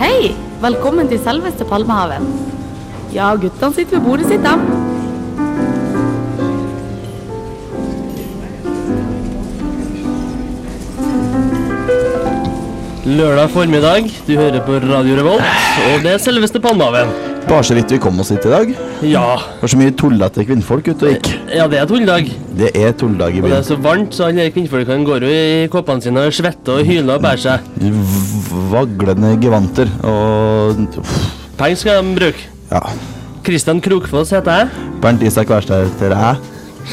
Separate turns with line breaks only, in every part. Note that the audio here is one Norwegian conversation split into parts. Hei! Velkommen til selveste Palmehaven. Ja, guttene sitter ved bordet sitt, dem.
Lørdag formiddag, du hører på Radio Revolt, og det er selveste Palmehaven.
Bare så vidt vi kom oss hit i dag. Det
Ja,
var så mye tullete kvinnfolk ute og gikk.
ja det er tulledag.
Det er tulldag i
Og det er
byen.
så varmt, så alle kvinnfolkene går jo i kåpene sine og svetter og hyler og bærer seg.
V- Vaglende gevanter og uff,
Penger skal de bruke.
Ja.
Kristian Krokfoss heter jeg.
Bernt Isak Wærstad heter jeg.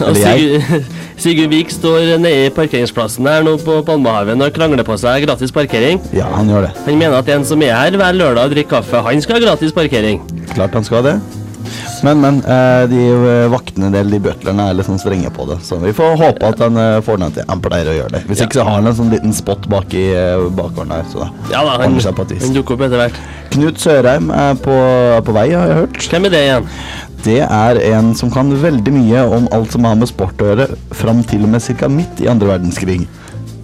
Og
Eller jeg.
Sigurd, Sigurd Vik står nede i parkeringsplassen her nå på Palmehaven og krangler på seg gratis parkering.
Ja, han gjør det.
Han mener at en som er her hver lørdag og drikker kaffe, han skal ha gratis parkering.
Klart han skal det. Men, men. eh, De vaktene del, de butlerne, er litt sånn strenge på det. Så vi får håpe at han eh, får den til. Han pleier å gjøre det. Hvis ikke så har han en sånn liten spot bak i eh, bakgården her. Så da
Ja da, han,
ordner seg på et vis.
han dukker opp etter hvert.
Knut Sørheim er på, på vei, har jeg hørt.
Hvem er det igjen?
Det er en som kan veldig mye om alt som har med sport å gjøre, fram til og med ca. midt i andre verdenskrig.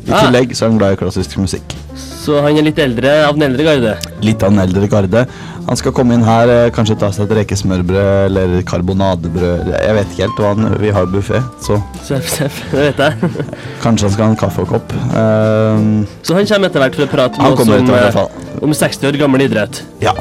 I
Ah.
tillegg så er han glad i klassisk musikk.
Så han er litt eldre av den eldre garde.
Litt av den eldre garde. Han skal komme inn her, eh, kanskje ta seg et rekesmørbrød eller karbonadebrød. Jeg vet ikke helt hva han Vi har buffé, så
Seff, seff, det vet jeg.
kanskje han skal ha en kaffekopp. Uh,
Så han kommer etter hvert for å prate
Han
med oss
kommer
om,
etter hvert, i
eh,
hvert
om 60 år gammel idrett.
ja.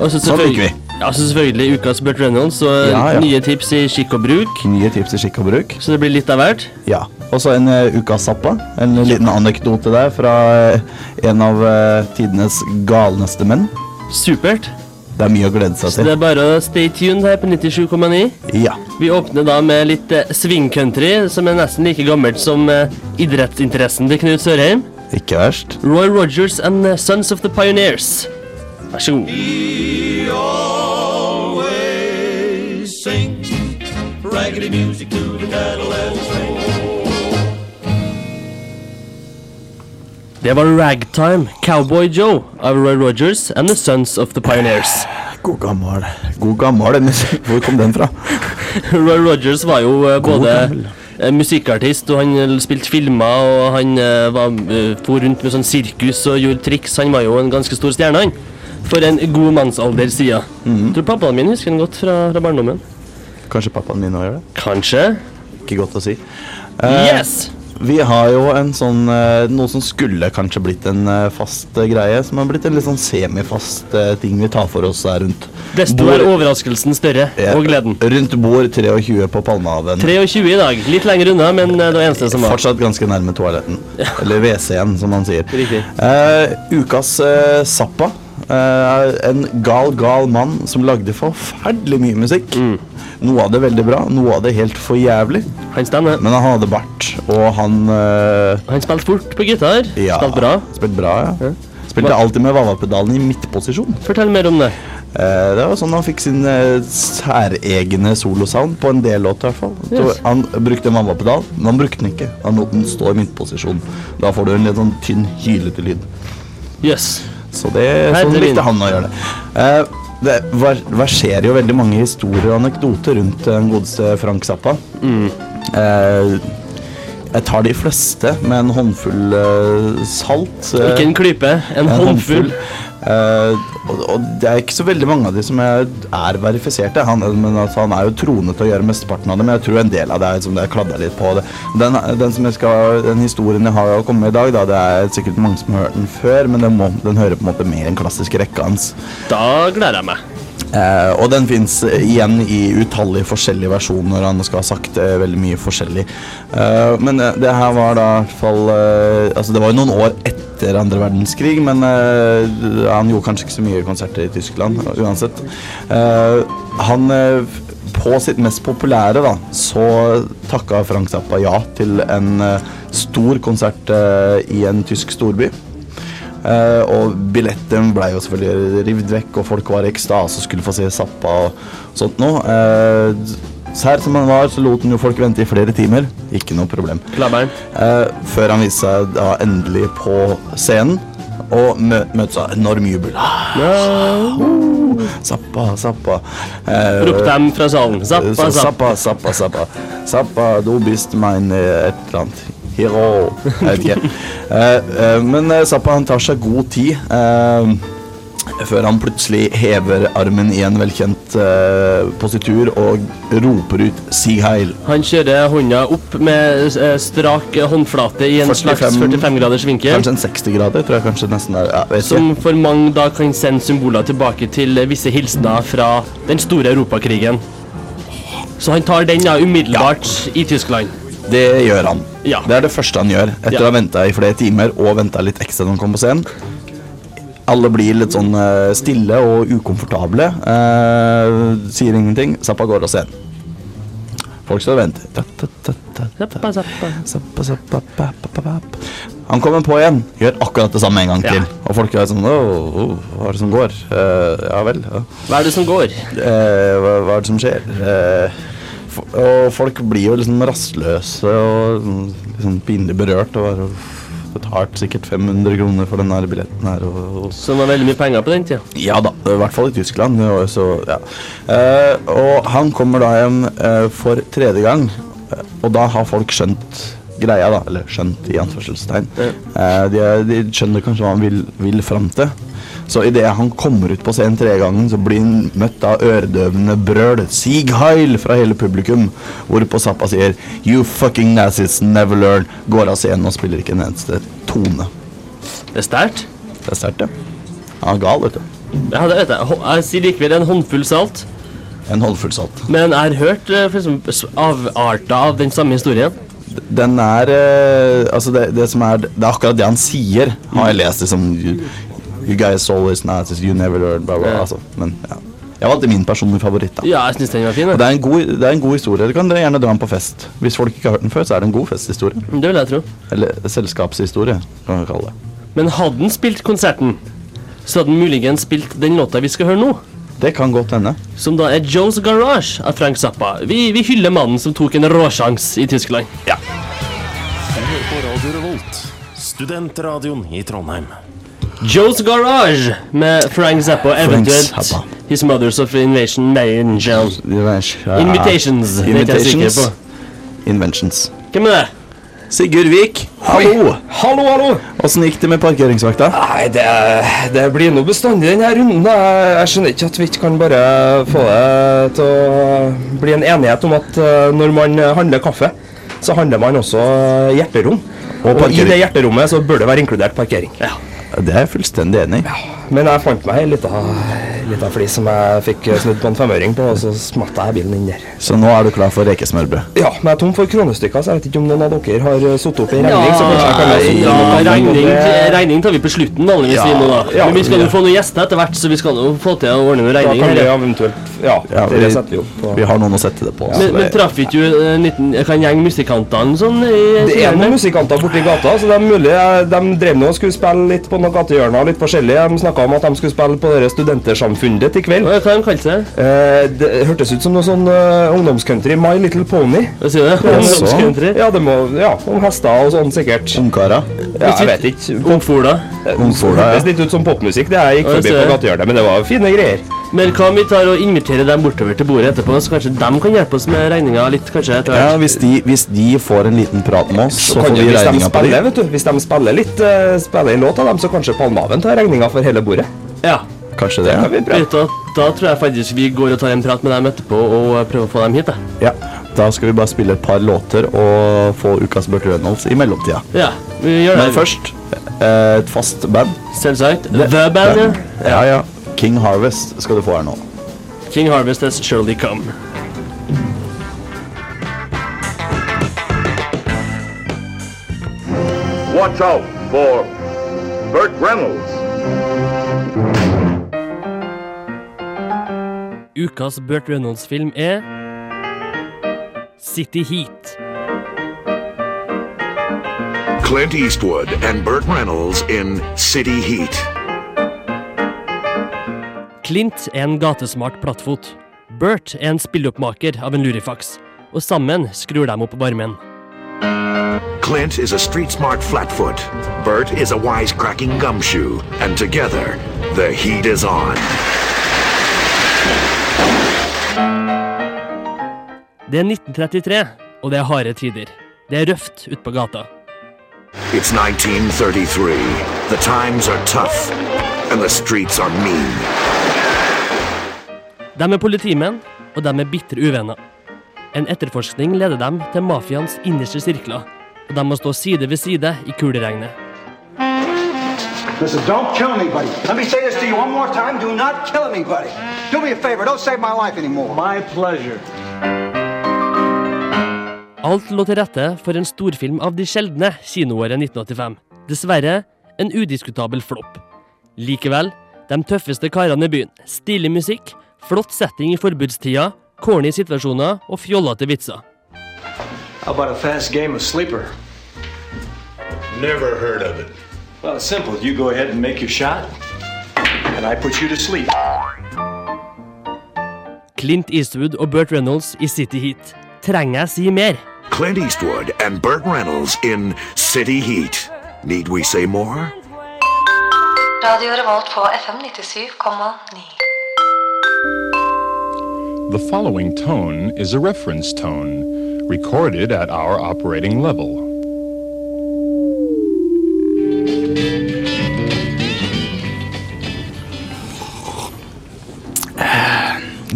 Og så
Sånn
selvfølgelig-
liker
Ja, så selvfølgelig ukas Burt Reynolds og
Ja, ja.
nye tips i skikk og bruk.
Nye tips til skikk og bruk.
Så det blir litt av hvert.
Ja. Og så en uh, ukas Zappa. En liten anekdote der fra eh, en av eh, tidenes galneste menn.
Supert.
Det er mye å glede
Så
seg
det
til.
er bare å stay tuned her på 97,9.
Ja.
Vi åpner da med litt eh, swing country, som er nesten like gammelt som eh, idrettsinteressen til Knut Sørheim.
Ikke verst.
Roy Rogers and the Sons of the Pioneers. Vær så god. Det var Ragtime Cowboy Joe av Roy Rogers and the Sons of the Pioneers.
God gammel. God gammel den musikk. Hvor kom den fra?
Roy Rogers var jo eh, både
gammel.
eh, musikkartist, og han eh, spilte filmer, og han eh, var, eh, for rundt med sånn sirkus og gjorde triks. Han var jo en ganske stor stjerne, han. For en god mannsalder siden.
Mhm.
Tror pappaen min husker han godt fra, fra barndommen.
Kanskje pappaen min òg gjør det?
Kanskje.
Ikke godt å si. Eh,
Yes!
Vi har jo en sånn eh, Noe som skulle kanskje blitt en eh, fast eh, greie, som har blitt en litt sånn semifast eh, ting vi tar for oss her rundt.
Desto
Bor-
er overraskelsen større,
Ja,
og gleden.
Rundt bord 23 på Palmehaven.
23 i dag. Litt lenger unna, men eh, det var eneste som var.
Fortsatt ganske nærme toaletten. Eller WC-en, som man sier.
Riktig.
Eh, ukas eh, Zappa. eh, en gal, gal mann som lagde forferdelig mye musikk.
Mm.
Noe av det veldig bra, noe av det helt for jævlig.
Han stemmer.
Men han hadde bart, og han eh,
Han spilte fort på gitar.
ja,
Spilte bra.
Spilte bra, ja. Spilte alltid med Vava-pedalen i midtposisjon.
Fortell mer om det.
Eh, det var sånn han fikk sin eh, særegne solosound på en del låter. i hvert fall. Så
Yes.
Han brukte en vannvapedal, men han brukte den ikke. Han lot den stå i midtposisjon. Da får du en litt sånn tynn, hylete lyd.
Jøss.
Så det,
Her
sånn
til min.
likte han å gjøre det. Eh, det var, verserer jo veldig mange historier og anekdoter rundt eh, den godeste Frank Zappa.
Mm.
Eh, jeg tar de fleste med en håndfull eh, salt. eh,
Ikke en klype, en
en
håndfull.
Eh, og, og det er ikke så veldig mange av de som er, er verifiserte. Han, men altså, han er jo troende til å gjøre mesteparten av det, men jeg tror en del av det er som det er kladda litt på. Det. Den, den, som jeg skal, den historien jeg har å komme med i dag, da, det er sikkert mange som har hørt den før, men den, må, den hører på en måte med i den klassiske rekka hans.
Da gleder jeg meg.
Eh, og den fins igjen i utallige forskjellige versjoner. Han skal ha sagt eh, veldig mye forskjellig. Eh, men eh, det her var da i hvert fall eh, Altså, det var jo noen år etter andre verdenskrig, men eh, han gjorde kanskje ikke så mye konserter i Tyskland uansett. Eh, han eh, på sitt mest populære, da, så takka Frank Zappa ja til en eh, stor konsert eh, i en tysk storby. Eh, og billetten ble jo selvfølgelig rivd vekk, og folk var i ekstase og skulle få se Zappa og sånt noe. Eh, så her som han var, så lot han jo folk vente i flere timer. Ikke noe problem.
Klabberen.
Eh, før han viste seg da endelig Ah, på scenen og mø møtte seg enorm jubel.
Ja.
Zappa, zappa. Eh,
Ropte dem fra salen. Zappa,
så
zappa.
Zappa, zappa, zappa. Zappa, du bist mein eh, et eller annet. Hero. Jeg vet ikke. Eh, eh, men eh, Zappa han tar seg god tid. eh, før han plutselig hever armen i en velkjent eh, positur og roper ut 'Sig heil'.
Han kjører hånda opp med eh, strak eh, håndflate i en
45
slags 45 graders vinkel.
Kanskje en 60 grader, tror jeg kanskje nesten er. Ja, vet ikke.
Som for mange da kan sende symboler tilbake til eh, visse hilsener fra den store europakrigen. Så han tar den ja, umiddelbart i Tyskland.
Det gjør han.
Ja.
Det er det første han gjør etter
Ja.
å ha venta i flere timer og venta litt ekstra når han kom på scenen. Alle blir litt sånn eh, stille og ukomfortable. eh, sier ingenting. Zappa går av scenen. Folk står og venter. Ta, ta, ta, ta, ta.
Zappa, zappa.
Zappa, zappa, pa, pa, pa, pa. Han kommer på igjen, gjør akkurat det samme en gang
Ja.
til. Og folk er sånn Åh, åh, hva er det som går? Eh, ja vel. Ja.
Hva er det som går?
Eh, hva, hva er det som skjer? Eh, fo- og folk blir jo liksom rastløse og sånn- liksom pinlig berørt. Og bare, uff, betalt sikkert 500 kroner for den her billetten her. Og, og,
Som var veldig mye penger på den tida.
ja da, i hvert fall i Tyskland. det var jo Så, ja. eh, og han kommer da hjem eh, for tredje gang, eh, og da har folk skjønt greia, da. Eller skjønt i anførselstegn. Eh, de, er- de skjønner kanskje hva han vil, vil fram til. Så idet han kommer ut på scenen tredje gangen, så blir han møtt av øredøvende brøl 'Sieg Heil!' fra hele publikum, hvorpå Zappa sier 'You fucking Nazis never learn', går av scenen og spiller ikke en eneste tone.
Det er sterkt.
Det er sterkt, det. Han er gal, vet du.
Ja, det vet jeg. Hå- Jeg sier likevel en håndfull salt.
En håndfull salt.
Men jeg har hørt eh, for eksempel, s- avarter av den samme historien.
Den er eh, Altså, det, det som er Det er akkurat det han sier, har jeg lest. Liksom You, you guys always nazis, you never learn, bla, bla.
Ja.
Altså, men ja. Jeg valgte min personlige favoritt, da.
Ja, jeg syns den var fin.
Og
jeg.
det er, en god, det er en god historie. Du kan dere gjerne dra den på fest. Hvis folk ikke har hørt den før, så er det en god festhistorie.
Det vil jeg tro.
Eller selskapshistorie, kan man kalle det.
Men hadde han spilt konserten, så hadde han muligens spilt den låta vi skal høre nå.
Det kan godt hende.
Som da er Joe's Garage av Frank Zappa. Vi, vi hyller mannen som tok en råsjans i Tyskland.
Du hører på Radio Revolt, studentradioen i Trondheim.
Joe's Garage med Frank Zappa og eventuelt
Zappa.
His Mothers of Invasion Angel. Invitations, det er jeg
Invitations.
sikker
Inventions.
Hvem er det?
Sigurd Vik, hallo!
Hallo, hallo!
Åssen gikk det med parkeringsvakta?
Ah.
Nei, det, det blir nå bestandig denne runden. da. Jeg, jeg skjønner ikke at vi ikke kan bare få det til å bli en enighet om at eh, når man handler kaffe, så handler man også hjerterom.
Og
Og i
parkering.
det hjerterommet så bør det være inkludert parkering.
Det er jeg fullstendig enig i.
Men jeg fant meg en lita, lita flis som jeg fikk snudd på en femøring på, og så smatt jeg bilen inn der.
Så nå er du klar for rekesmørbrød.
Ja, men jeg er tom for kronestykker, så jeg vet ikke om noen av dere har eh, satt opp en regning. så kanskje jeg kan
Nei,
lese
da,
om noe.
regning, regning tar vi på slutten, vanligvis. vi nå, da.
ja.
Men vi skal jo få noen gjester etter hvert, så vi skal jo få til å ordne noen
Da
regning.
kan vi
her.
eventuelt Ja,
Ja,
det
vi-
setter vi opp. på-
Vi har noen å sette det på. så
Men, men
det-
traff ikke eh, du en liten hva en gjeng musikantene sånn? I,
Det er noen musikanter borti gata, så det er mulig eh, de drev nå og skulle spille litt på noen gatehjørner. Litt forskjellig. De snakka om at de skulle spille på det studentersamfunnet til i kveld.
Hva er det de kaller seg?
Eh, det hørtes ut som noe sånn eh, ungdomscountry. My Little Pony.
Hva sier du?
så.
Ungdomscountry?
Ja, det må, ja, om hester og sånn, sikkert.
Ungkara.
Ja, jeg vet ikke.
Ungfola?
Det
Ungfola,
høres
ja.
litt ut som popmusikk, det jeg gikk
Ja, jeg
forbi
ser
på
det.
gatehjørnet, men det var fine greier.
Men hva om vi tar og inviterer dem bortover til bordet etterpå, så kanskje de kan hjelpe oss med regninga litt, kanskje, etter hvert?
ja hvis, de, hvis de får en liten prat med oss, så
Kan
får
jo-
vi
hvis, de
regninga på
spiller,
dem.
vet du, hvis de spiller litt, eh, spiller en låt av dem, så kanskje Palmaven tar regninga for hele bordet.
Ja.
Kanskje det.
Ja, vi prøver.
Vet du, hva, da tror jeg faktisk vi går og tar en prat med dem etterpå og eh, prøver å få dem hit. Da.
Ja. Da skal vi bare spille et par låter og få ukas Burt Reynolds i mellomtida.
Ja, vi gjør det.
Men først eh, et fast band.
Selvsagt. The Band, ja.
Ja, ja. King Harvest skal du få her nå.
King Harvest has surely come.
Watch out for Burt Reynolds.
Ukas Burt Reynolds-film er City Heat.
Clint Eastwood and Burt Reynolds in City Heat.
Clint er en gatesmart plattfot. Bert er en spilloppmaker av en lurifaks. Og sammen skrur de opp varmen.
Clint is a street smart flatfoot. Bert is a wisecracking gumshoe. And together, the heat is on.
Det er 1933, og det er harde tider. Det er røft ute på gata.
It's 1933. The times are tough, and the streets are mean.
De er politimenn, og de er bitre uvenner. En etterforskning leder dem til mafiaens innerste sirkler, og de må stå side ved side i kuleregnet.
Listen, don't kill anybody. Let me say this to you one more time. Do not kill anybody. Do me a favor. Don't save my life anymore. My pleasure.
Alt lå til rette for en storfilm av de sjeldne kinoåret 1985. Dessverre en udiskutabel flopp. Likevel, de tøffeste karene i byen. Stilig musikk, flott setting i forbudstida, corny situasjoner og fjollete vitser.
How about a fast game of sleeper?
Never heard of it.
Well, it's simple. You go ahead and make your shot, and I put you to sleep.
Clint Eastwood og Burt Reynolds i City Heat. Trenger jeg si mer?
Clint Eastwood and Burt Reynolds in City Heat. Need we say more?
Radio Revolt på FM 97,9.
The following tone is a reference tone recorded at our operating level.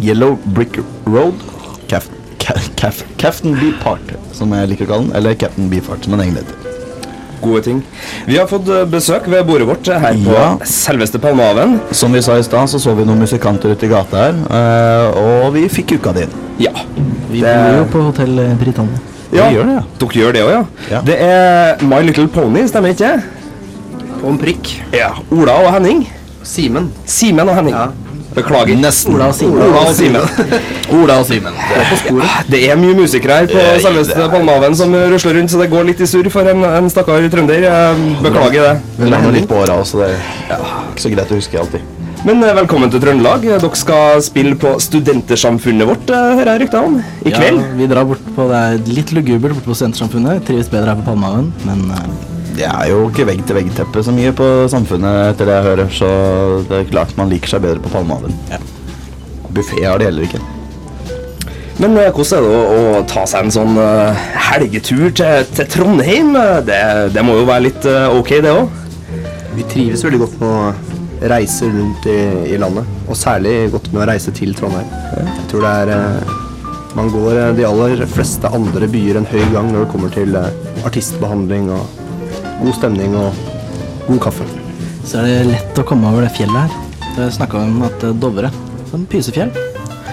Yellow Brick Road. Caf- Ca- Caf- Captain Beefheart, som jeg liker å kalle den. Eller Captain Beefheart, som den egentlig heter.
Gode ting. Vi har fått eh, besøk ved bordet vårt eh, her på
Ja.
selveste Palmehaven.
Som vi sa i stad, så så vi noen musikanter ute i gata her, eh, og vi fikk uka di inn.
Ja.
Vi
bor jo
på Hotell Britannia.
Ja.
Vi gjør det, ja.
Dere gjør det òg, ja.
Ja.
Det er My Little Pony, stemmer ikke det? Pon prikk. Ja. Ola og Henning. Simen. Simen og Henning. Beklager. Nesten. Ola og Simen. Ola og Simen.
Ola og Simen.
Ah, Det er mye musikere her på
Eh, det
selveste
er-
Palmehaven som rusler rundt, så det går litt i surr for en, en stakkar trønder. Jeg Beklager det.
Hun er nå litt på åra, så det er ikke så greit å huske alltid.
Men eh, velkommen til Trøndelag. Dere skal spille på Studentersamfunnet vårt, eh, hører jeg rykter om, i kveld.
Vi drar bort på Det er litt lugubert borte på Sentersamfunnet. Trives bedre her på Palmehaven, men eh,
Det er jo ikke vegg-til-vegg-teppe så mye på samfunnet, etter det jeg hører, så det er klart man liker seg bedre på Palmehaven. Ja. Buffé har de heller ikke.
Men eh, hvordan er det å, å ta seg en sånn eh, helgetur til, til Trondheim? Eh, Det, det må jo være litt eh, ok, det òg?
Vi trives veldig godt med å reise rundt i, i landet, og særlig godt med å reise til Trondheim. Jeg tror det er eh, Man går eh, de aller fleste andre byer en høy gang når det kommer til eh, artistbehandling og god stemning og god kaffe. Så er det lett å komme over det fjellet her. Jeg snakka om at Dovre er en pysefjell.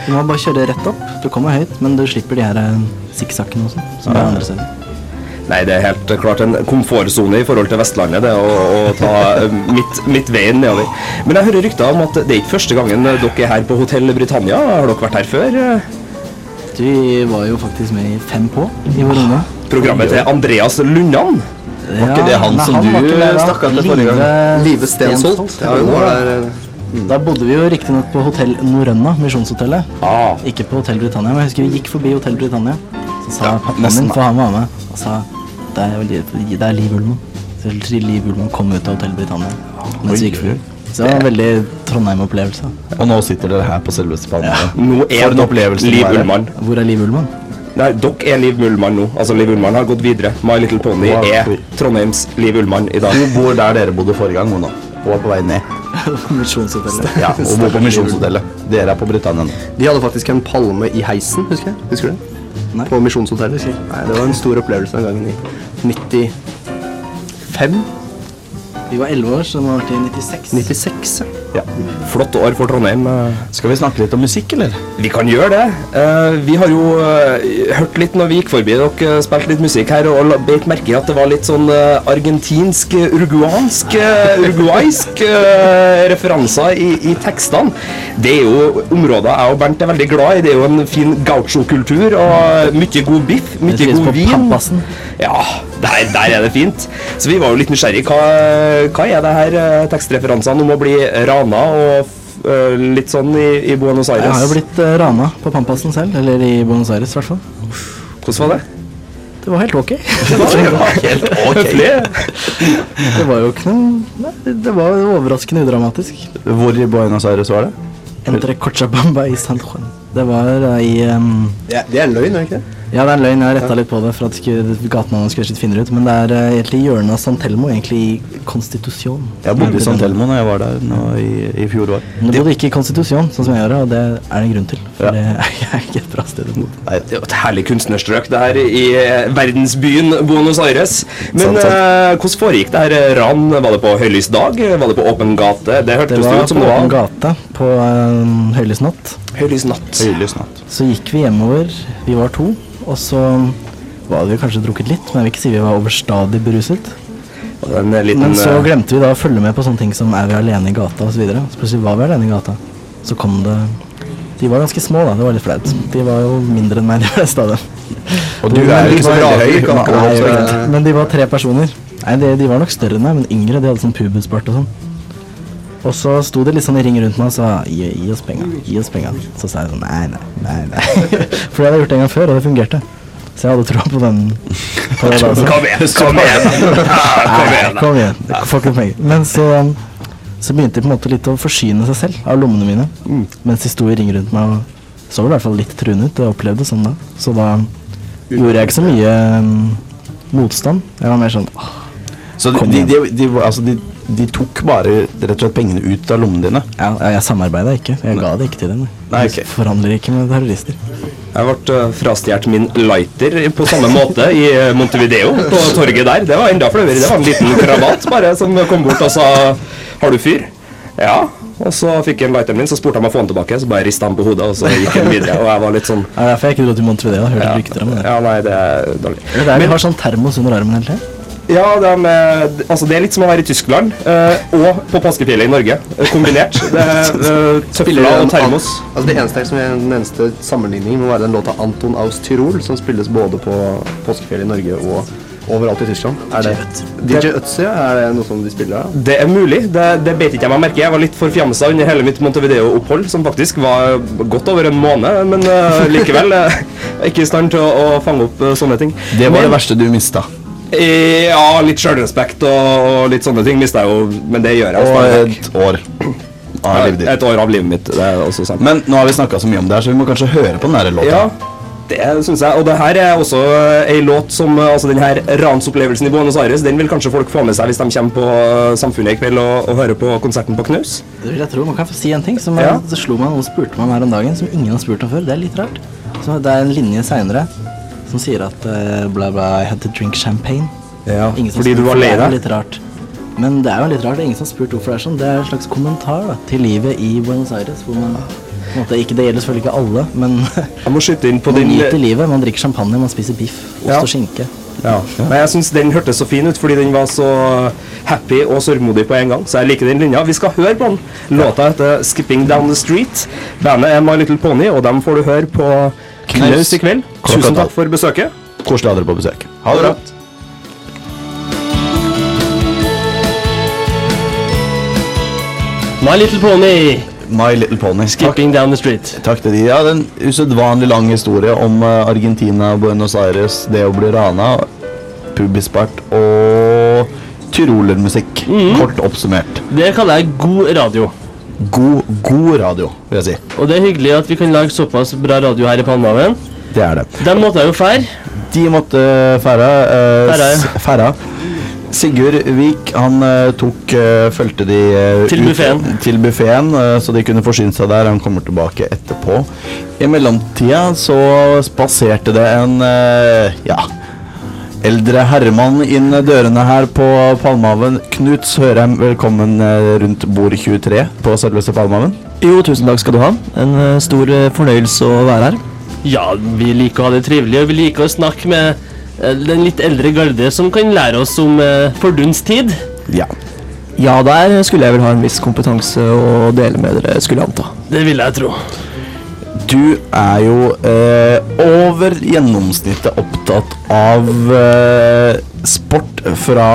Du må bare kjøre rett opp. Du kommer høyt, men du slipper de her sikksakkene også, som er andre steder.
Nei, det er helt klart en komfortsone i forhold til Vestlandet, det å, å ta eh, midt, midtveien nedover. Men jeg hører rykter om at det er ikke første gangen eh, dere er her på Hotell Britannia. Har dere vært her før? eh?
Vi var jo faktisk med i Fem på i vår ungdom.
Programmet til Andreas Lundan.
Var
ikke det han som du stakk av til forrige gang?
Live Stensholt. Ja, hun var der. Da bodde vi jo riktignok på Hotell Norrøna, Misjonshotellet.
Ah.
Ikke på Hotell Britannia, men jeg husker vi gikk forbi Hotell Britannia. Så sa
Ja,
pappaen
nesten
min,
da.
for han var med, og sa det er, jo Liv- det er Liv Ullmann. Så Liv Ullmann kom ut av Hotell Britannia mens vi gikk forbi. Så det var en veldig Trondheim-opplevelse.
Og nå sitter dere her på selveste Palmehaven.
Nå
For
er
en
dere
opplevelse det
Liv
var, ja.
Ullmann.
Hvor er Liv Ullmann?
Nei, dere er Liv Ullmann nå. Altså, Liv Ullmann har gått videre. My Little Pony
Wow.
er Trondheims Liv Ullmann i dag.
Hun bor der dere bodde forrige gang, hun nå. Hun er på vei ned.
Misjonshotellet.
Ja, og bor på Misjonshotellet. Dere er på Britannia nå.
De hadde faktisk en palme i heisen, husker jeg. Husker du det? Nei. På Misjonshotellet. Husker jeg. Nei, det var en stor opplevelse den gangen i 95. Vi var 11 år, så det må ha vært i 96. 96, ja.
Flott år for Trondheim. eh.
Skal vi snakke litt om musikk, eller?
Vi kan gjøre det. Eh, vi har jo eh, hørt litt når vi gikk forbi dere, eh, spilte litt musikk her, og la- beit merke i at det var litt sånn eh, argentinsk, eh, uruguansk, eh, uruguaysk eh, referanser i, i tekstene. Det er jo områder jeg og Bernt er veldig glad i. Det er jo en fin gauchokultur og eh, mye god biff, mye
trives
god
på
vin.
Papasen.
Ja, der, der er det fint. Så vi var jo litt nysgjerrige. Hva, hva er det her eh, tekstreferansene om å bli rana og f- eh, litt sånn i, i Buenos Aires?
Jeg har jo blitt eh, rana på Pampasen selv, eller i Buenos Aires i hvert fall.
Hvordan var det?
Det var helt ok.
Helt
Høflig.
Det var jo ikke noe Nei, det var overraskende udramatisk.
Hvor i Buenos Aires var det?
Entre Cochabamba i San Juan. Det var eh, i ehm,
Ja, det er en løgn, er det ikke det?
Ja, det er en løgn. Jeg har retta
Ja.
litt på det for at ikke gatenavnet skulle se litt finere ut. Men det er eh, egentlig i hjørnet av San Telmo, egentlig i Konstitusjon.
Jeg bodde i San Telmo da jeg var der nå i, i fjor år.
Men du bodde ikke i Konstitusjon, sånn som jeg gjør det, og det er det en grunn til. For det er ikke et bra sted å bo.
Nei, det er jo et herlig kunstnerstrøk det her i eh, verdensbyen Buenos Aires. Men
Sant, sant.
eh, hvordan foregikk det her eh, ran? Var det på høylys dag? Var det på åpen gate? Det
Det
hørtes det
var
ut
på
som det
åpen
var.
gate på um, høylysnatt.
Høylysnatt.
Så gikk vi hjemover, vi var to, og så var vi kanskje drukket litt, men jeg vil ikke si vi var overstadig beruset.
En eh, liten
Men så
eh,
glemte vi da å følge med på sånne ting som er vi alene i gata osv. Så, videre. så plutselig var vi alene i gata. Så kom det De var ganske små, da. Det var litt flaut. De var jo mindre enn meg de fleste av dem.
Og du er jo ikke så veldig høy, kan ikke
Nei,
det
jeg
være
vet.
sånn?
Men de var tre personer. Nei, de, de var nok større enn meg, men yngre. De hadde sånn pubespart og sånn. Og så sto de litt sånn i ring rundt meg og sa gi, gi oss penga, gi oss penga. Så sa jeg sånn nei, nei, nei. nei. For jeg hadde gjort det en gang før, og det fungerte. Så jeg hadde troa på den. På det da, altså.
Kom igjen, kom igjen. Kom
Nei,
igjen.
Kom igjen. Du Får ikke penger. Men så, um, så begynte de på en måte litt å forsyne seg selv av lommene mine. Mens de sto i ring rundt meg og så vel i hvert fall litt truende ut. Jeg opplevde det sånn da. Så da gjorde jeg ikke så mye mm, motstand. Jeg var mer sånn «Åh,
Så de,
Kom
de,
igjen.
de, de, var- altså de, de tok bare rett og slett pengene ut av lommene dine?
Ja, jeg samarbeida ikke. Jeg ga det ikke til dem. jeg.
Nei,
Jeg Forhandler ikke med terrorister.
Jeg ble eh, frastjålet min lighter på samme måte i eh, Montevideo, på torget der. Det var enda flauere. Det var en liten krabat bare som kom bort og sa 'Har du fyr?' Ja. Og så fikk jeg lighteren min, så spurte han meg å få den tilbake. Så bare rista han på hodet, og så gikk han videre. Og jeg var litt sånn
Det er derfor jeg ikke dro til Montevideo. Hørte ja. rykter om det.
Ja, nei, det er dårlig.
Det er der de har sånn termos under armen hele tiden.
Ja, det er, med, altså det er litt som å være i Tyskland eh, og på påskefjellet i Norge. eh, Kombinert. Det er eh,
Spiller
tøfler
den
og termos.
an- Altså det eneste, som er, den eneste sammenligningen må være den låta Anton aus Tyrol, som spilles både på påskefjellet i Norge og overalt i Tyskland. Er det DJ Øtzi, ja, er det noe som de spiller? da?
Det er mulig. Det, det bet ikke jeg meg merke. Jeg var litt forfjamsa under hele mitt Montevideo-opphold, som faktisk var godt over en måned, men eh, likevel eh, ikke i stand til å, å fange opp eh, sånne ting.
Det var
Men-
det verste du mista.
Eh, Ja, litt sjølrespekt og, og litt sånne ting mister jeg jo, men det gjør jeg.
Og eh,
stadig vekk.
et år av
Ja,
livet ditt.
Et år av livet mitt. Det er også sant.
Men nå har vi snakka så mye om det her, så vi må kanskje høre på den der låta.
Ja, det syns jeg. Og det her er også eh, ei låt som eh, Altså, den her ransopplevelsen i Buenos Aires, den vil kanskje folk få med seg hvis de kommer på eh, Samfunnet i kveld og, og hører på konserten på Knaus.
Det vil jeg tro. Man kan få si en ting som
Ja.
så slo meg noen spurte meg om her om dagen, som ingen har spurt om før. Det er litt rart. Så det er en linje seinere som sier at eh, bla, bla, I had to drink champagne.
Ja,
Ingen som
fordi
spør,
du var
for det
lei
er jo
deg.
Litt rart. Men det er jo litt rart. Det er ingen som har spurt hvorfor det er sånn. Det er en slags kommentar da, til livet i Buenos Aires. hvor man... på en Måte, ikke, det gjelder selvfølgelig ikke alle, men
Jeg må skyte inn på
man
din-
nyter livet. Man drikker champagne, man spiser biff, ost
Ja.
og skinke.
Ja. Men jeg syns den hørtes så fin ut, fordi den var så happy og sørgmodig på en gang. Så jeg liker den linja. Vi skal høre på den. Låta heter 'Skipping Down The Street'. Bandet er My Little Pony, og dem får du høre på Knaus i kveld.
Klokka
Tusen
tolv.
takk for besøket.
Koselig å ha dere på besøk. Ha det bra.
My Little Pony.
My Little Pony.
Skipping down the street.
Takk til de. Ja, det er en usedvanlig lang historie om eh, Argentina, Buenos Aires, det å bli rana, pubispart og tyrolermusikk. Kort oppsummert.
Det kaller jeg god radio.
God, god radio, vil jeg si.
Og det er hyggelig at vi kan lage såpass bra radio her i Palmehaven.
Det er det.
De måtte jeg jo fære.
De måtte fære. eh,
Fære.
s- fære. Sigurd Vik han eh, tok uh, fulgte de eh,
Til
ut-
buffeten.
til buffeten, eh, så de kunne forsyne seg der. Han kommer tilbake etterpå. I mellomtida så spaserte det en eh, ja, eldre herremann inn dørene her på Palmehaven. Knut Sørheim, velkommen eh, rundt bord 23 på selveste Palmehaven.
Jo, tusen takk skal du ha. En eh, stor eh, fornøyelse å være her.
Ja, vi liker å ha det trivelig, og vi liker å snakke med eh, den litt eldre garde som kan lære oss om eh, fordums tid.
Ja. Ja, der skulle jeg vel ha en viss kompetanse å dele med dere, skulle jeg anta.
Det vil jeg tro.
Du er jo eh, over gjennomsnittet opptatt av eh, sport fra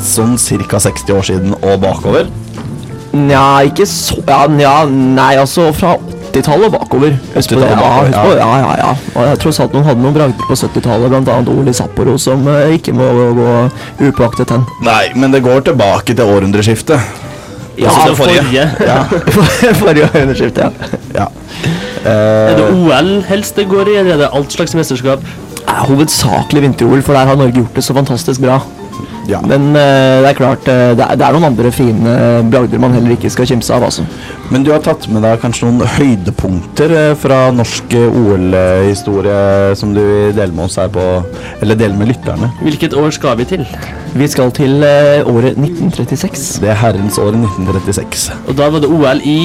sånn ca. 60 år siden og bakover.
Nja, ikke så ja, nja, Nei, altså fra 80-tallet og bakover. Husk på det.
80-tallet
Ja,
bakover,
husk på,
ja.
ja, ja, ja. Og jeg tror sant noen hadde noen bragder på 70-tallet, blant annet Ole Sapporo, som eh, ikke må gå upåaktet hen.
Nei, men det går tilbake til århundreskiftet.
Ja,
Altså, det
forrige.
forrige.
forrige århundreskifte, ja.
Er det OL helst det går i, eller er det alt slags mesterskap?
er hovedsakelig vinter-OL, for der har Norge gjort det så fantastisk bra. Men eh, det er klart, eh, det, er, det er noen andre fine bragder man heller ikke skal kimse av, altså.
Men du har tatt med deg kanskje noen høydepunkter eh, fra norsk eh, OL-historie som du vil dele med oss her på Eller dele med lytterne?
Hvilket år skal vi til?
Vi skal til eh, året 1936.
Det er herrens året 1936.
Og da var det OL i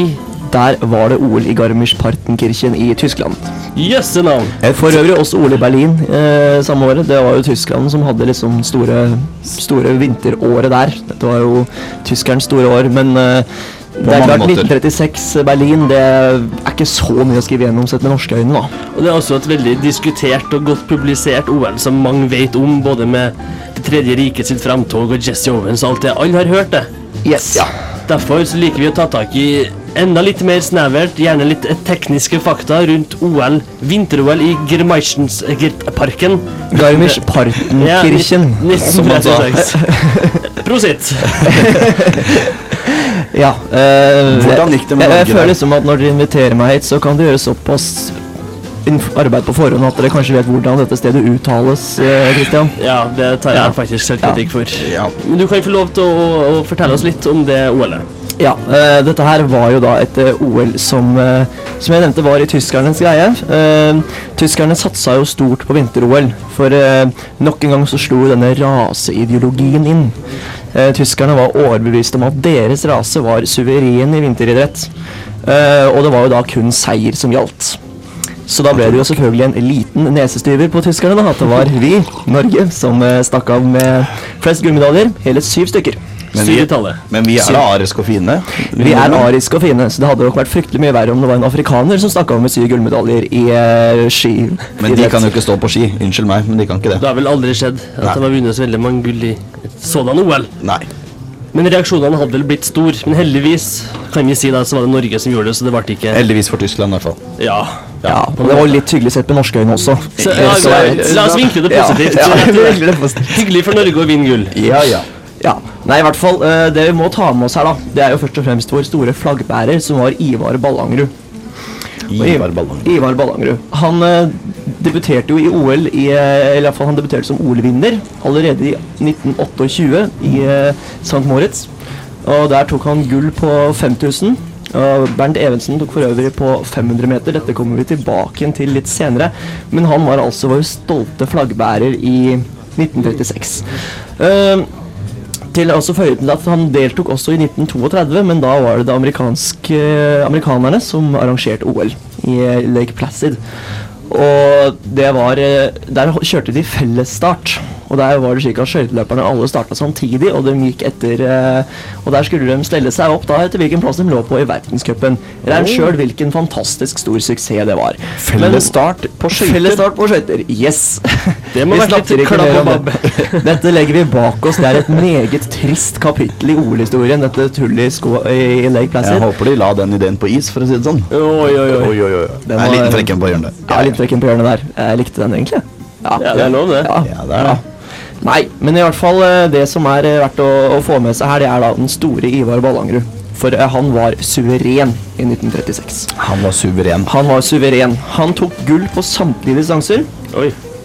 Der var det OL i Garmisch-Partenkirchen i Tyskland.
Jøsse navn!
For øvrig også OL i Berlin eh, samme året. Det var jo Tyskland som hadde liksom store, store vinteråret der. Dette var jo tyskerens store år, men eh, det er
mange
klart
måter.
1936 Berlin, det er ikke så mye å skrive gjennom sett med norske øyne, da.
Og det er også et veldig diskutert og godt publisert OL som mange vet om, både med Det tredje riket sitt framtog og Jesse Owens og alt det. Alle har hørt det.
Yes.
Derfor så liker vi å ta tak i enda litt mer snevert, gjerne litt eh, tekniske fakta rundt OL, vinter-OL i eh, Germaischensgertparken.
Garmisch-Partenkirchen, som man sa.
1936. Prosit!
Ja. eh,
Hvordan gikk det med
jeg- Jeg
Norge
føler
der?
liksom at når dere inviterer meg hit, så kan det gjøres såpass inf- arbeid på forhånd at dere kanskje vet hvordan dette stedet uttales, eh, Christian.
Ja, det tar jeg
Ja.
faktisk
Ja.
selvkritikk for. Men du kan få lov til å, å, å fortelle oss litt om det OL-et.
Ja, eh, dette her var jo da et eh, OL som, eh, som jeg nevnte var i tyskernes greie. Eh, tyskerne satsa jo stort på vinter-OL, for eh, nok en gang så slo denne raseideologien inn. Eh, tyskerne var overbevist om at deres rase var suveren i vinteridrett. Eh, og det var jo da kun seier som gjaldt. Så da ble det jo selvfølgelig en liten nesestyver på tyskerne, da, at det var vi, Norge, som eh, stakk av med flest gullmedaljer. Hele syv stykker.
Men
Syv
vi,
i tallet.
men vi er
Syv.
da arisk og fine.
Vi er ariske og fine, så det hadde nok vært fryktelig mye verre om det var en afrikaner som stakk av med syv gullmedaljer i eh, ski.
Men de kan jo ikke stå på ski. Unnskyld meg, men de kan ikke det.
Det har vel aldri skjedd at
Nei.
de har vunnet så veldig mange gull i et sådan OL.
Nei.
Men reaksjonene hadde vel blitt stor, men heldigvis kan vi si da, så var det Norge som gjorde det, så det ble ikke
Heldigvis for Tyskland, i hvert fall.
Ja.
Ja, og det var jo litt hyggelig sett med norske øyne også.
Så, ja,
Så-
la- la oss vinkle det
Ja,
positivt.
ja,
Jeg
vi
tror
vinkler det positivt.
Hyggelig for Norge å vinne gull.
Ja, ja. Nei, i hvert fall, eh, det vi må ta med oss her, da, det er jo først og fremst vår store flaggbærer, som var Ivar Ballangerud. Og I-
Ivar Ballangerud.
Ivar Ballangerud. Han eh, debuterte jo i OL, i, eh, eller i hvert fall han debuterte som OL-vinner allerede i 1928 i eh, St. Moritz. Og der tok han gull på 5000. Og Bernt Evensen tok for øvrig på 500 meter. Dette kommer vi tilbake igjen til litt senere. Men han var altså vår stolte flaggbærer i 1936. Eh, til også føye til at Han deltok også i 1932, men da var det det amerikanske, amerikanerne som arrangerte OL i eh, Lake Placid. Og det var eh, Der ho- kjørte de fellesstart. Og der var det slik at skøyteløperne alle starta samtidig, og de gikk etter eh, Og der skulle de stelle seg opp da etter hvilken plass de lå på i verdenscupen. Regn
Oh.
sjøl hvilken fantastisk stor suksess det var.
Fellesstart på skøyter.
Fellesstart på skøyter, yes.
Det må
Vi
være litt
snakker ikke
klapp
mer
og
om det. Dette legger vi bak oss. Det er et meget trist kapittel i OL-historien, dette tullet i, sko- i i Lake Placid.
Jeg håper de la den ideen på is, for å si det sånn.
Oi, oi, oi.
oi, oi. Jeg
Den
er
var-
liten frekken på hjørnet.
Ja, litt trekken på hjørnet der. Jeg likte den egentlig.
Ja, det er lov, det.
Ja,
det er det.
Nei, men i hvert fall eh, det som er eh, verdt å, å få med seg her, det er da den store Ivar Ballangerud. For eh, han var suveren i 1936.
Han var suveren.
Han var suveren. Han tok gull på samtlige distanser.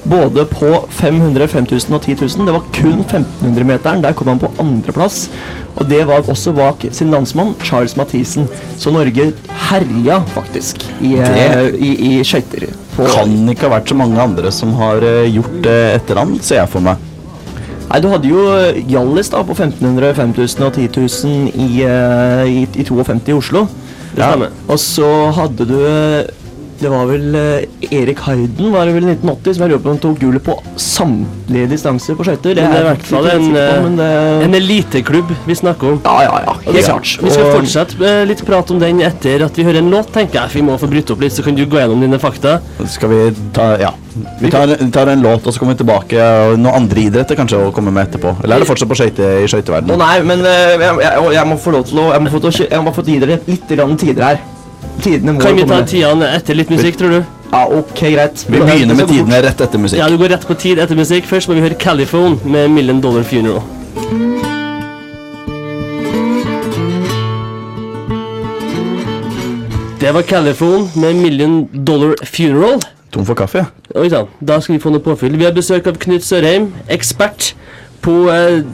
Både på 500, 5000 og 10 000. Det var kun 1500-meteren. Der kom han på andreplass. Og det var også bak sin landsmann Charles Mathisen. Så Norge herja faktisk i, eh,
Det-
i, i skøyter. på-
Kan ikke ha vært så mange andre som har eh, gjort det etter han, ser jeg for meg.
Nei, du hadde jo eh, Hjallis da på 1500, 5000 og 10 000 i, eh, i, i 52 i Oslo.
Det stemmer.
Og så hadde du eh, Det var vel eh, Erik Heiden var det vel i 1980 som jeg lurer på om tok gullet på samtlige distanser på skøyter.
Men det er i
jeg
hvert fall en,
ikke helt sikker på, men
eh, en eliteklubb vi snakker om.
Ja, ja, ja.
vi,
Helt klart.
vi skal
Og-
fortsette eh, litt prat om den etter at vi hører en låt, tenker jeg. Vi må få bryte opp litt, så kan du gå gjennom dine fakta.
Skal vi ta Ja. Vi tar, vi tar en låt, og så kommer vi tilbake og noen andre idretter kanskje å komme med etterpå. Eller er det fortsatt på skøyte i
Å
skøyteverdenen?
nei, men eh, jeg, jeg, jeg må få lov til å Jeg må få, til å, kjø- jeg må få gi dere litt grann tider her. Tidene må
Kan vi ta
komme.
tidene etter litt musikk, tror du?
Ja, ok, greit.
Vi begynner med tidene rett etter musikk.
Ja, du går rett på tid etter musikk. Først må vi høre Caliphone med Million Dollar Funeral. Det var Californ med Million Dollar Funeral.
Tom for kaffe, ja.
Oi sann, da skal vi få noe påfyll. Vi har besøk av Knut Sørheim, ekspert på eh,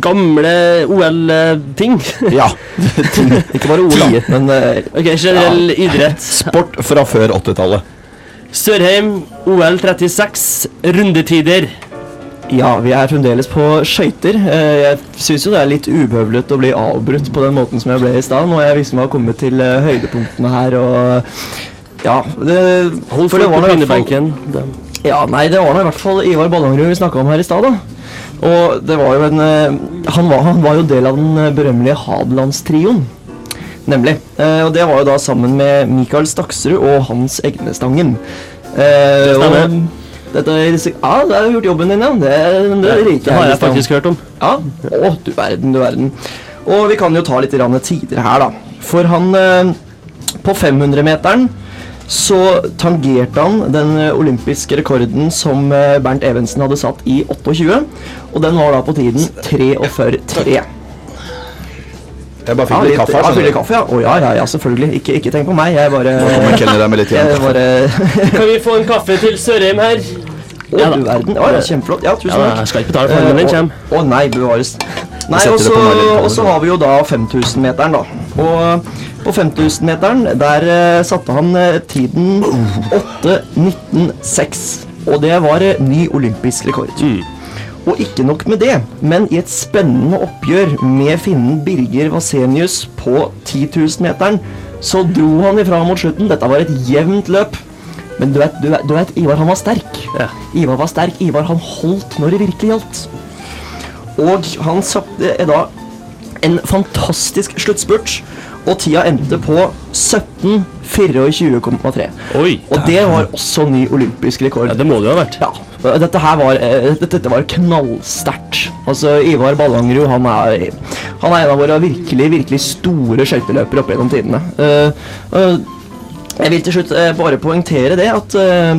gamle OL-ting.
Ja.
Ikke bare OL, men Ok, generell idrett.
Sport fra før 80-tallet.
Sørheim, OL 36, rundetider.
Ja, vi er fremdeles på skøyter. Eh, Jeg syns jo det er litt ubehøvlet å bli avbrutt på den måten som jeg ble i stad, når jeg liksom har kommet til eh, høydepunktene her og Ja. Det,
Hold
for det
folk
var
på
nå i hvert fall-
pinnebenken. Det-
Ja, nei, det var nå i hvert fall Ivar Ballangrud vi snakka om her i stad, da. Og det var jo en eh, Han var, han var jo del av den eh, berømmelige Hadelandstrioen. Nemlig. Eh, og det var jo da sammen med Mikael Staksrud og Hans Egnestangen. Eh,
Det stemmer.
og- dette er, ja, du har gjort jobben din, ja. Det, det,
Ja,
liker
det har jeg
Egnestangen.
faktisk hørt om.
Ja, å du verden, du verden. Og vi kan jo ta litt grann tider her, da. For han eh, På 500-meteren så tangerte han den eh, olympiske rekorden som eh, Bernt Evensen hadde satt i 28. Og den var da på tiden 43,3.
Jeg bare
Ja,
fikk litt
litt-
kaffe.
altså.
Ja, fyller
her,
litt kaffe, ja. Å ja, ja, ja, selvfølgelig. Ikke, ikke tenk på meg. Jeg bare
Nå kommer kelneren der med litt igjen.
Jeg bare
Kan vi få en kaffe til Sørheim her?
Å, du verden. Å, ja, kjempeflott. Ja, tusen
Ja,
takk.
jeg skal ikke betale for den, men den
Eh,
kommer.
Å å nei, bevares. Nei,
setter
og
det på meg litt
så-
på
og så
den.
har vi jo da 5000-meteren, da. Og på 5000-meteren, der eh, satte han eh, tiden 8.19,6. Og det var eh, ny olympisk rekord.
Mm.
Og ikke nok med det, men i et spennende oppgjør med finnen Birger Vasenius på 10.000-meteren, så dro han ifra mot slutten. Dette var et jevnt løp. Men du vet, du vet, du vet Ivar han var sterk. Ivar var sterk. Ivar han holdt når det virkelig gjaldt. Og han satte eh, da en fantastisk sluttspurt. Og tida endte på 17.24,3. Og det var også ny olympisk rekord. Ja,
Det må det jo ha vært.
Ja. Dette her var, eh, dette- dette var knallsterkt. Altså, Ivar Ballangrud han er, han er en av våre virkelig virkelig store skøyteløpere opp gjennom tidene. Eh, eh, jeg vil til slutt eh, bare poengtere det at eh,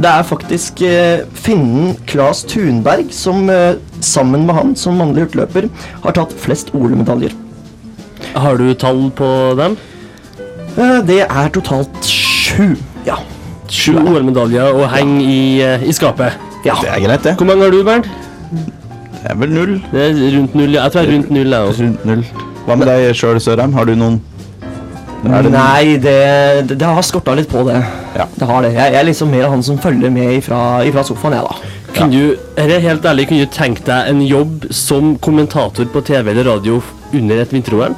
det er faktisk eh, finnen Claes Thunberg som eh, sammen med han som mannlig hurtigløper har tatt flest OL-medaljer.
Har du tall på dem?
Eh, det er totalt sju. Ja.
Sju OL-medaljer og heng i, eh, i skapet.
Ja.
Det er greit, det.
Hvor mange har du, Bernt?
Det er vel null.
Det er rundt null, ja. Jeg tror det er rundt null, jeg også.
Rundt null. Hva med deg sjøl, Sørheim? Har du noen Er det-
Nei, det, det, det har skorta litt på det. Det har det. Jeg, jeg er liksom mer han som følger med ifra, ifra sofaen, jeg, da.
Kunne du, her er helt ærlig, kunne du tenkt deg en jobb som kommentator på TV eller radio under et vinter-OL?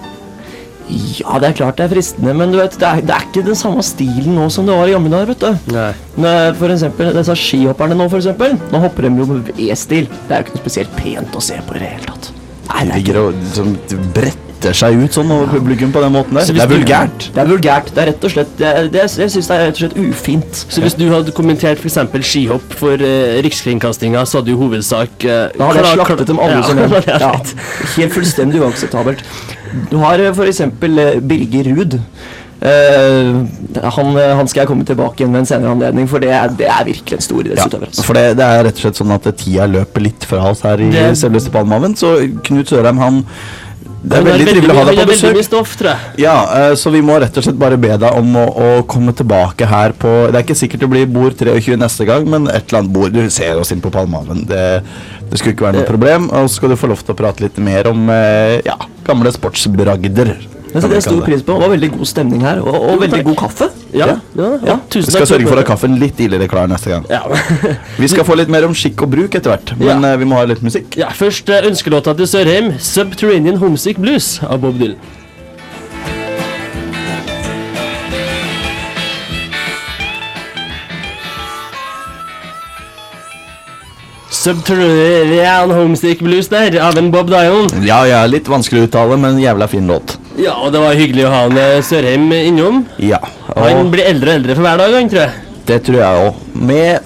Ja, det er klart det er fristende, men du vet, det er, det er ikke den samme stilen nå som det var i gamle dager, vet du.
Nei.
Nå, For eksempel disse skihopperne nå, for eksempel. Nå hopper de jo på V-stil. Det er jo ikke noe spesielt pent å se på i det hele tatt.
De ligger og liksom, bretter seg ut sånn over publikum på den måten der.
Så
Det
hvis
er
du-
vulgært.
Det er vulgært. Det er rett og slett det, er- det, er- Jeg syns det er rett og slett ufint.
Så hvis du hadde kommentert f.eks. skihopp for uh, Rikskringkastinga, så hadde du i hovedsak eh,
Da hadde jeg
klar-
slaktet dem alle
Ja,
som en.
det er
Ja,
rett.
helt fullstendig uakseptabelt. Du har eh, for eksempel eh, Birger Ruud. Eh, han, eh, han skal jeg komme tilbake igjen ved en senere anledning, for det er, det er virkelig en stor
Ja,
idrettsutøver. altså.
for det, det er rett og slett sånn at tida løper litt fra oss her i
Det-
selveste Palmehaven. Så Knut Sørheim, han Det er
Han har
veldig trivelig å ha
mye- han
deg på
har veldig
besøk.
mye stoff, tror jeg.
Ja, eh, så vi må rett og slett bare be deg om å, å komme tilbake her på Det er ikke sikkert det blir bord 23 neste gang, men et eller annet bord. Du ser oss inn på Palmehaven. Det, det skulle ikke være noe problem. Og så skal du få lov til å prate litt mer om eh, ja, gamle sportsbragder.
Det setter jeg stor pris på. Det var veldig god stemning her, og, og veldig god kaffe.
Ja,
ja.
Vi skal sørge for å ha kaffen litt tidligere klar neste gang. vi skal få litt mer om skikk og bruk etter hvert, men eh, vi må ha litt musikk.
Ja, først eh, ønskelåta til Sørheim, 'Subterranean Homesick Blues' av Bob Dylan. Subterranean Homesick Blues der, av en Bob Dylan.
Ja, ja, litt vanskelig å uttale, men jævla fin låt.
Ja, og det var hyggelig å ha han eh, Sørheim innom.
Ja,
Han
og
blir eldre og eldre for hver dag, han, tror jeg.
det tror jeg òg.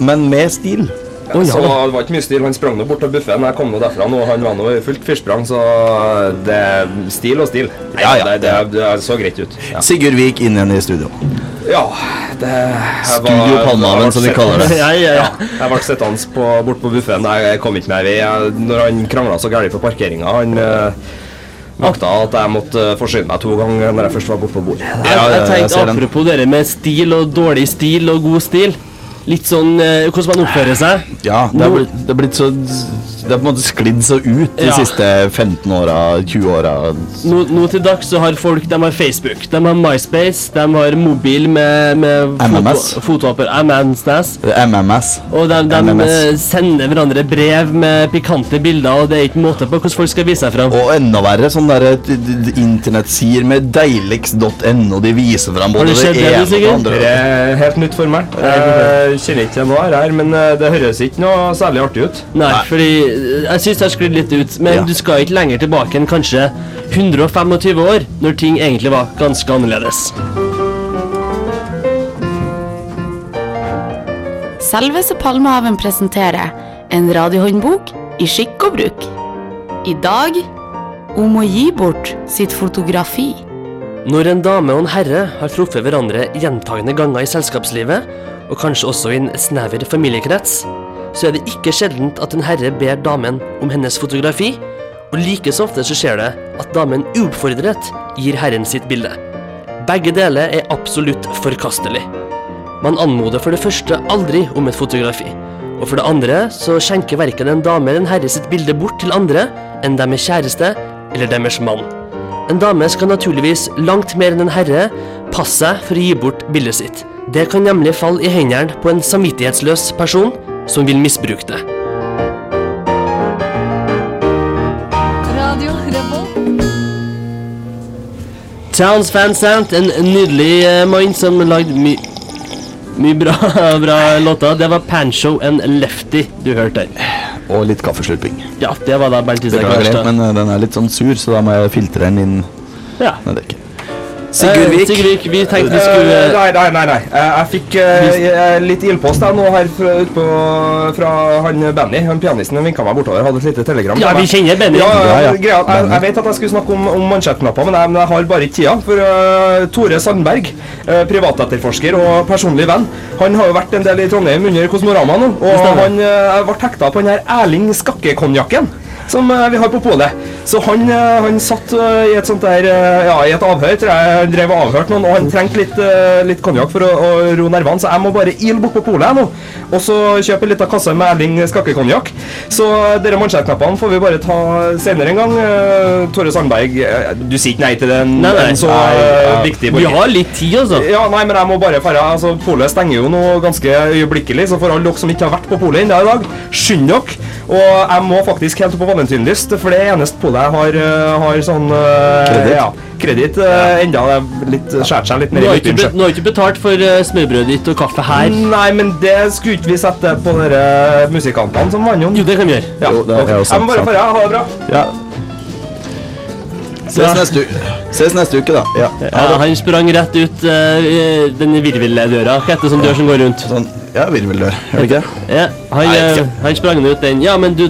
Men med stil.
Ja, så det var ikke mye stil. Han sprang nå bort til buffeen. Jeg kom nå derfra nå, og han var nå i fullt fyrsprang, så det er stil og stil. Nei,
Ja, ja.
Det, det, det så greit ut. Ja.
Sigurd Vik inn igjen i studio.
Ja, det jeg var-
Studio Palmehaven,
jeg ble
som de
sett-
kaller det.
Ja, ja, ja.
Jeg ble sittende på- bort på buffeen. Jeg kom ikke meg i vei. Jeg- Når han krangla så gærent på parkeringa, han eh,
Akta at jeg måtte eh, forsyne meg to ganger når jeg først var borte på bordet.
Jeg, jeg tenkte Apropos dere med stil og dårlig stil og god stil. Litt sånn eh, hvordan man oppfører seg.
Ja, det er blitt, det er blitt så Det er på en måte sklidd så ut de
Ja.
siste 15 åra, 20 åra.
Nå, nå til dags så har folk de har Facebook, de har MySpace, de har mobil med, med
MMS.
foto- fotoapper, MMS.
MMS.
Og de, de
MMS.
eh, sender hverandre brev med pikante bilder, og det er ikke måte på hvordan folk skal vise seg fram.
Og enda verre, sånn der eh, d- d- internettsider med deiligst.no. De viser fram
Har
både
du
det
sett det,
ene og det
Sigurd?
andre.
Det er helt nytt for meg. Jeg kjenner ikke til noe her, her, men eh, det høres ikke noe særlig artig ut.
Nei, fordi eh, jeg syns det har sklidd litt ut. Men
Ja.
du skal ikke lenger tilbake enn kanskje 125 år, når ting egentlig var ganske annerledes.
Selveste Palmehaven presenterer en radiohåndbok i skikk og bruk. I dag om å gi bort sitt fotografi.
Når en dame og en herre har truffet hverandre gjentagende ganger i selskapslivet, og kanskje også i en snever familiekrets, så er det ikke sjeldent at en herre ber damen om hennes fotografi, og like så ofte så skjer det at damen uoppfordret gir herren sitt bilde. Begge deler er absolutt forkastelig. Man anmoder for det første aldri om et fotografi, og for det andre så skjenker verken en dame eller en herre sitt bilde bort til andre enn deres kjæreste eller deres mann. En dame skal naturligvis langt mer enn en herre passe seg for å gi bort bildet sitt. Det kan nemlig falle i hendene på en samvittighetsløs person som vil misbruke det.
Radio Revolt.
Towns Van Sant, en nydelig eh, mann som lagde my mye bra, bra låter. Det var Pancho and Lefty du hørte der.
Og litt kaffeslurping.
Ja, det var da Bernt Isak
Beklager det,
Verstad.
men eh, den er litt sånn sur, så da må jeg filtre den inn.
Ja.
Nei, det er ikke.
Sigurd Vik. Eh, Sigurd Vik, vi tenkte vi skulle-
Eh, Nei, nei, nei. nei. Eh, Jeg fikk eh, jeg- litt ildpost jeg nå her fra, ut på- fra han eh, Benny. Han pianisten han vinka meg bortover. Hadde et lite telegram.
Ja,
til meg.
vi kjenner Benny.
Ja,
Ja, ja.
greia, jeg, jeg vet at jeg skulle snakke om, om mansjettknapper, men jeg, men jeg har bare ikke tida. For eh, Tore Sandberg, eh, privatetterforsker og personlig venn, han har jo vært en del i Trondheim under Kosmorama nå. Og
Det stemmer.
han eh, ble hekta på den her Erling Skakke-konjakken som eh, vi har på polet. Så han, eh, han satt eh, i et sånt der eh, Ja, i et avhør, tror jeg. Han drev og avhørte noen, og han trengte litt, eh, litt konjakk for å, å roe nervene, så jeg må bare ile bort på polet jeg nå. Og så kjøpe en liten kasse med Erling Skakke-konjakk. Så eh, dere mansjettknappene får vi bare ta senere en gang. Eh, Tore Sandberg, eh, du sier ikke nei til den,
Nei, nei.
den så
Nei,
eh,
ja.
viktig
Vi har litt tid, altså.
Ja, nei, men jeg må bare færre, altså, Polet stenger jo nå ganske øyeblikkelig, så for alle dere som ikke har vært på polet ennå i dag, skynd dere. Og jeg må faktisk helt opp på valentinlyst, for det er eneste polet jeg har, eh, har sånn eh,
Kreditt.
Ja, kreditt. eh, Enda det er litt skjært seg litt
Nå
mer i
har ikke
midtbyen.
be- nå har ikke betalt for eh, smørbrødet ditt og kaffe her.
Nei, men det skulle ikke vi sette på dere musikantene som vant jo.
Jo, det kan vi gjøre.
Ja,
Jo, det er
ok.
jo sant,
Jeg må bare
sant.
færre, ha det bra.
Ja. Ses neste uke. Ses neste uke, da. Ja.
Ja, Eh, han sprang rett ut eh, i denne virveldøra. Hva heter det som dør som går rundt?
Sånn. ja, virveldør. Er det ikke det?
Ja, han,
Nei, jeg vet
eh, han sprang ut den. Ja, men du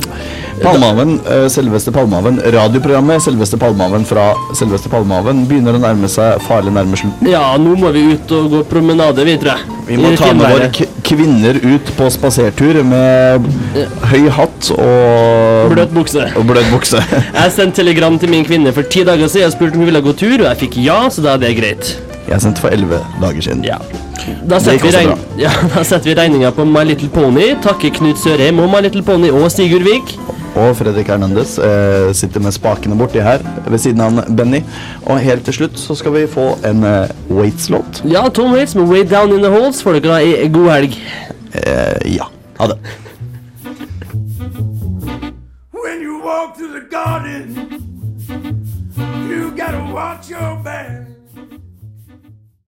Palmehaven, eh, selveste Palmehaven. Radioprogrammet Selveste Palmehaven fra Selveste Palmehaven begynner å nærme seg farlig nærme slutten.
Ja, nå må vi ut og gå promenade, vi, tror jeg.
Vi må
I
ta med
finværet.
våre k kvinner ut på spasertur med høy hatt og
Bløt bukse.
Og bløt bukse.
Jeg sendte telegram til min kvinne for ti dager siden og spurte om hun ville gå tur, og jeg fikk ja, så da er det greit.
Jeg sendte for elleve dager siden.
Da
Det
setter,
gikk
vi
også
regn... ja, da setter vi regninga på My Little Pony. Takker Knut Sørheim og My Little Pony og Sigurd Vik.
Og Fredrik Hernandez eh, sitter med spakene borti her ved siden av han, Benny. Og helt til slutt så skal vi få en eh, Waits-låt.
Ja, Tom Waits med Way Down In The Holes får dere ha ei god helg.
Eh, ja. Ha det.
When you walk through the garden, you gotta watch your back.